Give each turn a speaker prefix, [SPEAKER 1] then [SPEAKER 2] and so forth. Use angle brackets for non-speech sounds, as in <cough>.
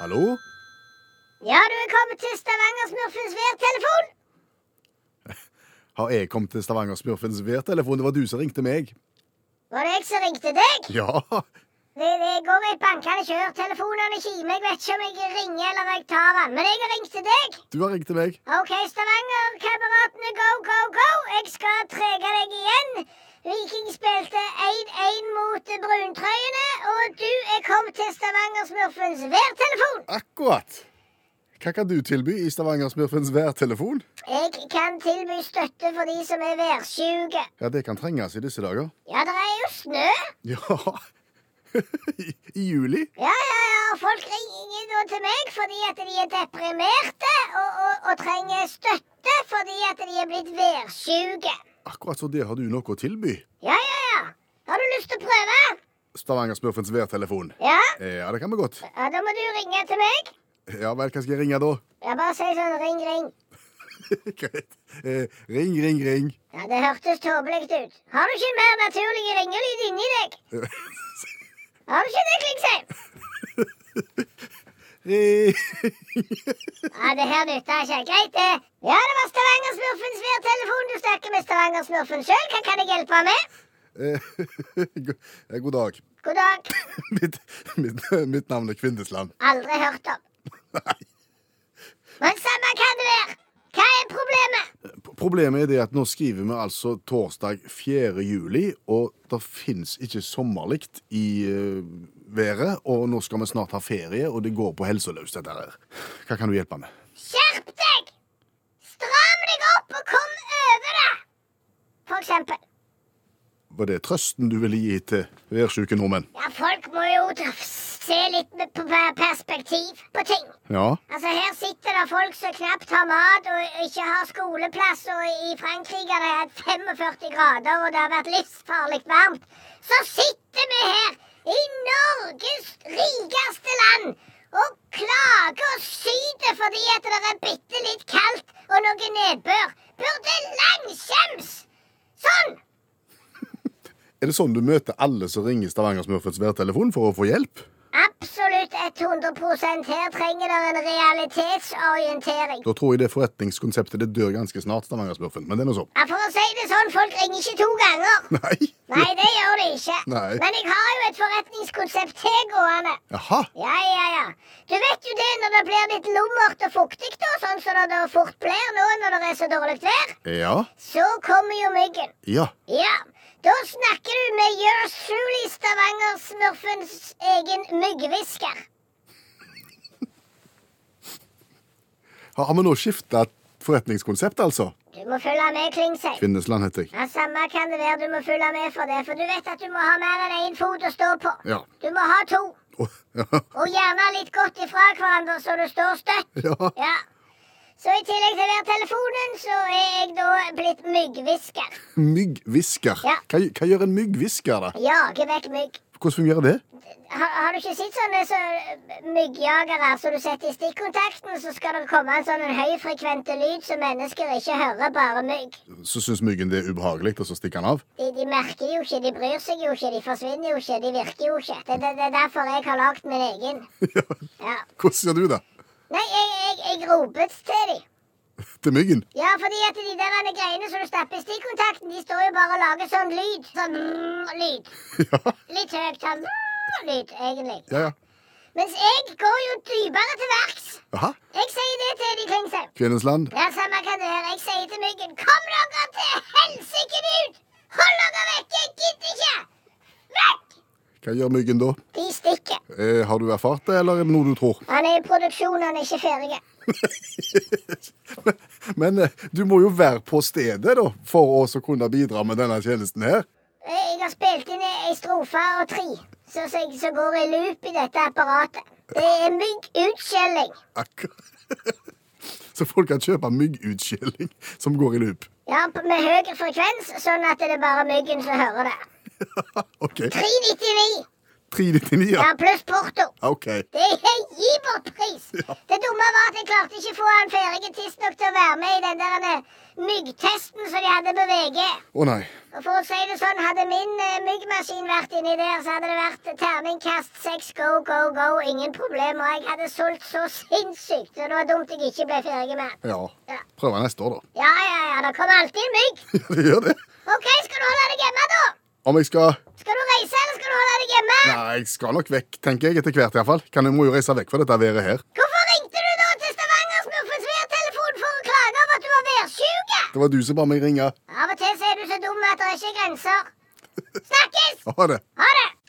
[SPEAKER 1] Hallo?
[SPEAKER 2] Ja, du er kommet til Stavanger-smurfens værtelefon.
[SPEAKER 1] Har jeg kommet til Stavanger-smurfens værtelefon? Det var du som ringte meg.
[SPEAKER 2] Var det jeg som ringte
[SPEAKER 1] <laughs>
[SPEAKER 2] deg?
[SPEAKER 1] Ja,
[SPEAKER 2] Det, det går med et bankende kjør. Telefonene kimer. Jeg vet ikke om jeg ringer eller jeg tar den. Men jeg ringte deg.
[SPEAKER 1] du har ringt til meg.
[SPEAKER 2] OK, Stavanger-kameratene, go, go, go. Jeg skal trege deg igjen. Viking spilte 1-1 mot bruntrøyene, og du er kommet til Stavanger-smurfens værtelefon.
[SPEAKER 1] Akkurat. Hva kan du tilby i Stavanger-smurfens værtelefon?
[SPEAKER 2] Jeg kan tilby støtte for de som er værsjuke.
[SPEAKER 1] Ja, det kan trenges i disse dager.
[SPEAKER 2] Ja, det er jo snø.
[SPEAKER 1] Ja. I, <laughs> I juli?
[SPEAKER 2] Ja, ja, ja. Folk ringer da til meg fordi at de er deprimerte og, og, og trenger støtte fordi at de er blitt værsjuke.
[SPEAKER 1] Akkurat så det har du noe å tilby.
[SPEAKER 2] Ja, ja, ja. Har du lyst til å prøve?
[SPEAKER 1] Stavanger-smurfens værtelefon. Eh,
[SPEAKER 2] Ja?
[SPEAKER 1] Ja, det kan vi godt.
[SPEAKER 2] ja? Da må du ringe til meg.
[SPEAKER 1] Ja vel, hva skal jeg ringe da? <laughs>
[SPEAKER 2] Ja, Bare si sånn ring, ring.
[SPEAKER 1] Greit. Eh, ring, ring, ring. <laughs>
[SPEAKER 2] Ja, Det hørtes tåpelig ut. Har du ikke en mer naturlig ringelyd inni deg? Har du ikke det, Klingsheim?
[SPEAKER 1] Ring.
[SPEAKER 2] Ja, det her nytta ikke. Greit, det. Ja, det var Stavanger-smurfens værtelefon. Du snakker med Stavanger-smurfen sjøl. Hva kan jeg hjelpe med?
[SPEAKER 1] Eh, <laughs> go- eh, God dag. <laughs>
[SPEAKER 2] God dag.
[SPEAKER 1] Mitt, mitt, mitt navn er Kvindesland.
[SPEAKER 2] Aldri hørt om.
[SPEAKER 1] Nei.
[SPEAKER 2] Men samme kan det være. Hva er problemet?
[SPEAKER 1] P- Problemet er det at nå skriver vi altså torsdag 4. juli, og det fins ikke sommerlikt i eh, været, og nå skal vi snart ha ferie, og det går på helsa løs, dette her. Hva kan du hjelpe med?
[SPEAKER 2] Skjerp deg! Stram deg opp og kom over det! For eksempel.
[SPEAKER 1] Var det trøsten du ville gi til værsjuke nordmenn?
[SPEAKER 2] Ja, folk må jo ta- se litt med på per- perspektiv på ting.
[SPEAKER 1] Ja.
[SPEAKER 2] Altså, her sitter det folk som knapt har mat og ikke har skoleplass, og i Frankrike har det hatt 45 grader, og det har vært livsfarlig varmt. Så sitter vi her i Norges rikeste land og klager og syter fordi at det er bitte litt kaldt og noe nedbør. Burde langskjems! Sånn!
[SPEAKER 1] Er det sånn du møter alle som ringer Stavanger-smurfets værtelefon for å få hjelp?
[SPEAKER 2] Absolutt 100 Her trenger det en realitetsorientering.
[SPEAKER 1] Da tror jeg det forretningskonseptet det dør ganske snart, Stavanger-smurfen. Men det er nå så. <laughs>
[SPEAKER 2] Ja, For å si det sånn, folk ringer ikke to ganger.
[SPEAKER 1] Nei?
[SPEAKER 2] Nei, det gjør de ikke.
[SPEAKER 1] Nei.
[SPEAKER 2] Men jeg har jo et forretningskonsept til gående.
[SPEAKER 1] Jaha.
[SPEAKER 2] Ja, ja, ja. Du vet jo det når det blir litt lummert og fuktig, da, sånn som det da fort blir nå når det er så dårlig vær.
[SPEAKER 1] Ja.
[SPEAKER 2] Så kommer jo myggen.
[SPEAKER 1] Ja.
[SPEAKER 2] Ja. Da snakker du med yours truly Stavanger-smurfens egen myggvisker.
[SPEAKER 1] Har har vi nå skifta forretningskonsept, altså?
[SPEAKER 2] Du må følge med, Klingsheim.
[SPEAKER 1] Kvinnesland heter jeg.
[SPEAKER 2] Ja, Samme kan det være du må følge med for det, for du vet at du må ha mer enn én fot å stå på.
[SPEAKER 1] Ja.
[SPEAKER 2] Du må ha to,
[SPEAKER 1] Å,
[SPEAKER 2] og gjerne litt godt ifra hverandre så du står støtt.
[SPEAKER 1] ja.
[SPEAKER 2] Ja. Så i tillegg til værtelefonen, så er jeg da blitt myggvisker.
[SPEAKER 1] Myggvisker.
[SPEAKER 2] Ja.
[SPEAKER 1] Hva, hva gjør en myggvisker, da?
[SPEAKER 2] Jager vekk mygg.
[SPEAKER 1] Hvordan fungerer det?
[SPEAKER 2] Har, har du ikke sett sånne så, myggjagere som du setter i stikkontakten, så skal det komme en sånn en høyfrekvente lyd som mennesker ikke hører, bare mygg.
[SPEAKER 1] Så syns myggen det er ubehagelig, og så stikker han av?
[SPEAKER 2] De, de merker det jo ikke, de bryr seg jo ikke, de forsvinner jo ikke, de virker jo ikke. Det, det, det er derfor jeg har lagd min egen.
[SPEAKER 1] Ja.
[SPEAKER 2] Ja.
[SPEAKER 1] Hvordan gjør du det?
[SPEAKER 2] Nei, jeg, jeg, jeg ropet til de.
[SPEAKER 1] Til myggen? <laughs>
[SPEAKER 2] Ja, fordi at de der andre greiene som du stapper i stikkontakten, de står jo bare og lager sånn lyd. Sånn brrr, lyd.
[SPEAKER 1] Ja.
[SPEAKER 2] Litt høyt sånn brrr, lyd, egentlig.
[SPEAKER 1] Ja, ja.
[SPEAKER 2] Mens jeg går jo dypere til verks.
[SPEAKER 1] Jaha.
[SPEAKER 2] Jeg sier det til de Klingsheim.
[SPEAKER 1] Kvinnens land.
[SPEAKER 2] Ja, samme kan det være. Jeg sier til myggen Kom dere til helsike ut! Hold dere vekk! Jeg gidder ikke! Vekk!
[SPEAKER 1] Hva gjør myggen da?
[SPEAKER 2] De stikker.
[SPEAKER 1] Eh, har du erfart det, eller er det noe du tror? <laughs>
[SPEAKER 2] Han er i produksjon, han er ikke ferdig.
[SPEAKER 1] Men eh, du må jo være på stedet da, for oss å kunne bidra med denne tjenesten her.
[SPEAKER 2] Eh, Jeg har spilt inn ei strofe og tre, så, så jeg så går i loop i dette apparatet. Det er myggutskjelling.
[SPEAKER 1] Akkurat. <laughs> Så folk kan kjøpe myggutskjelling som går i loop. <laughs>
[SPEAKER 2] Ja, p- med høy frekvens, sånn at det er bare myggen som hører det.
[SPEAKER 1] OK.
[SPEAKER 2] 399.
[SPEAKER 1] 399,
[SPEAKER 2] Ja,
[SPEAKER 1] ja.
[SPEAKER 2] pluss porto.
[SPEAKER 1] OK.
[SPEAKER 2] Det er gi bort pris! Det dumme var at jeg klarte ikke å få han ferdig tidsnok til å være med i den der denne myggtesten som de hadde på VG.
[SPEAKER 1] Å nei.
[SPEAKER 2] Og for å si det sånn, hadde min eh, myggmaskin vært inni der, så hadde det vært terningkast seks, go, go, go, ingen problem. Og jeg hadde solgt så sinnssykt, og det var dumt jeg ikke ble ferdig med den.
[SPEAKER 1] Ja. Prøve neste år, da.
[SPEAKER 2] Ja, ja, ja, det kommer alltid en mygg.
[SPEAKER 1] Ja, <laughs> det gjør det.
[SPEAKER 2] OK, skal du holde deg hjemme, da?
[SPEAKER 1] Om jeg skal
[SPEAKER 2] Skal du reise, eller skal du holde deg hjemme?
[SPEAKER 1] Nei, jeg skal nok vekk, tenker jeg, etter hvert iallfall. Kan jeg må jo reise vekk fra dette været her.
[SPEAKER 2] Hvorfor ringte du da til Stavanger Smurfesværtelefon for å klage over at du var værsjuke?
[SPEAKER 1] Det var du som ba meg ringe.
[SPEAKER 2] Av og til så er du så dum at det er ikke grenser. Snakkes!
[SPEAKER 1] Ha det.
[SPEAKER 2] Ha det!